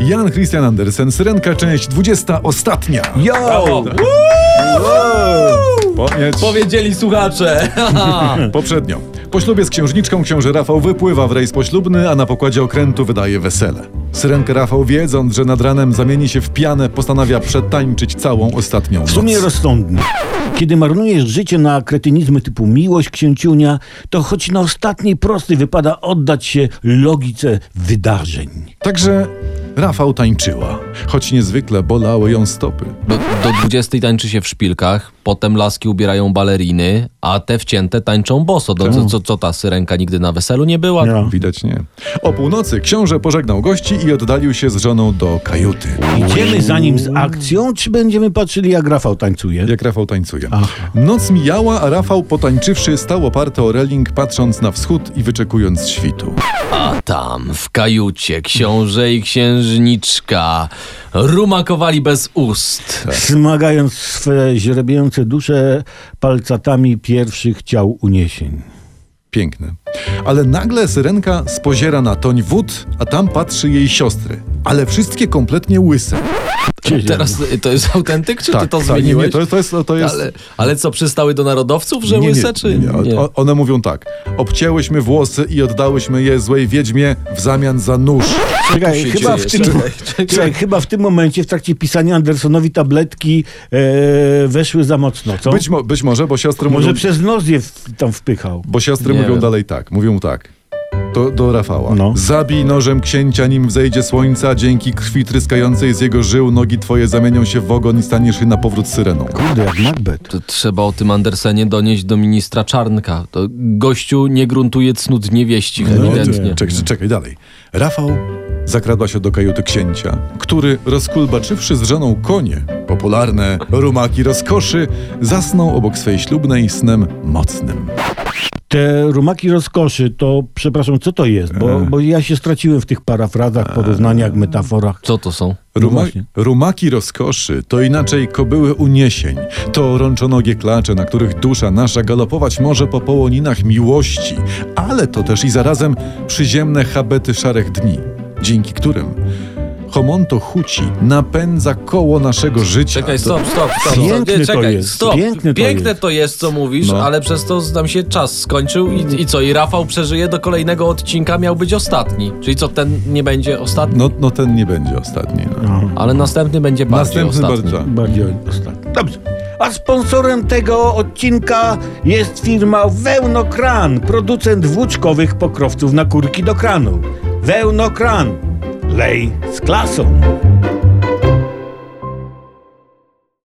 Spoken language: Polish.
Jan Christian Andersen, Syrenka, część 20, ostatnia. Brawo. Yo! Koniec. Powiedzieli słuchacze. Poprzednio. Po ślubie z księżniczką książę Rafał wypływa w rejs poślubny, a na pokładzie okrętu wydaje wesele. Syrenkę Rafał, wiedząc, że nad ranem zamieni się w pianę, postanawia przetańczyć całą ostatnią W sumie noc. rozsądny. Kiedy marnujesz życie na kretynizmy typu miłość księciunia, to choć na ostatniej prostej wypada oddać się logice wydarzeń. Także Rafał tańczyła, choć niezwykle bolały ją stopy. Do, do 20 tańczy się w szpilkach, potem laski ubierają baleriny, a te wcięte tańczą boso. Do, co, co, co ta syrenka nigdy na weselu nie była? No. Widać nie. O północy książę pożegnał gości i oddalił się z żoną do kajuty. Idziemy za nim z akcją, czy będziemy patrzyli jak Rafał tańcuje? Jak Rafał tańcuje. Noc mijała, a Rafał potańczywszy stał oparty o reling, patrząc na wschód i wyczekując świtu. A tam, w kajucie, książę i księżniczka rumakowali bez ust. Smagając swe źrebiejące dusze palcatami pierwszych ciał uniesień. Piękne. Ale nagle syrenka spoziera na toń wód, a tam patrzy jej siostry. Ale wszystkie kompletnie łyse. Tak, Teraz y, to jest autentyk, czy ty to nie, zmieniłeś? nie, to jest... To jest, to jest... ale, ale co, przystały do narodowców, że Nie, nie, łyse, czy nie, nie. O- One mówią tak. Obcięłyśmy włosy i oddałyśmy je złej wiedźmie w zamian za nóż. Czekaj, się chyba, w dzieje? tym, Czekaj, czekaj, chyba w tym momencie w trakcie pisania Andersonowi tabletki e, weszły za mocno, No. co? Być, mo- być może, bo siostry Może mówią... przez nos je w, tam wpychał. Bo siostry Nie mówią wiem. dalej tak. Mówią tak. Do, do Rafała. No. Zabij nożem księcia, nim wzejdzie słońca. Dzięki krwi tryskającej z jego żył nogi twoje zamienią się w ogon i staniesz się na powrót syreną. Kurde, jak Macbeth. To trzeba o tym Andersenie donieść do ministra Czarnka. To gościu nie gruntuje cnót niewieścich No, ewidentnie. czek, czekaj dalej. Rafał zakradła się do kajuty księcia, który rozkulbaczywszy z żoną konie, popularne rumaki rozkoszy, zasnął obok swej ślubnej snem mocnym. Te rumaki rozkoszy, to przepraszam, co to jest? Bo, bo ja się straciłem w tych parafrazach, porównaniach, metaforach. Co to są? Ruma- właśnie. rumaki rozkoszy to inaczej kobyły uniesień, to rączonogie klacze, na których dusza nasza galopować może po połoninach miłości, ale to też i zarazem przyziemne habety szarych dni, dzięki którym homonto huci napędza koło naszego życia. Czekaj, To- stop, stop, stop. stop. Piękne nie, to czekaj, jest, stop. piękne to jest. to jest, co mówisz, No. ale przez to nam się czas skończył i, i co? I Rafał przeżyje do kolejnego odcinka, miał być ostatni. Czyli co, ten nie będzie ostatni? No, no ten nie będzie ostatni. No. Ale następny będzie bardziej Następny ostatni. bardzo. Bardziej ostatni. Dobrze. A sponsorem tego odcinka jest firma Wełnokran, producent włóczkowych pokrowców na kurki do kranu. Wełnokran. Lej z klasą.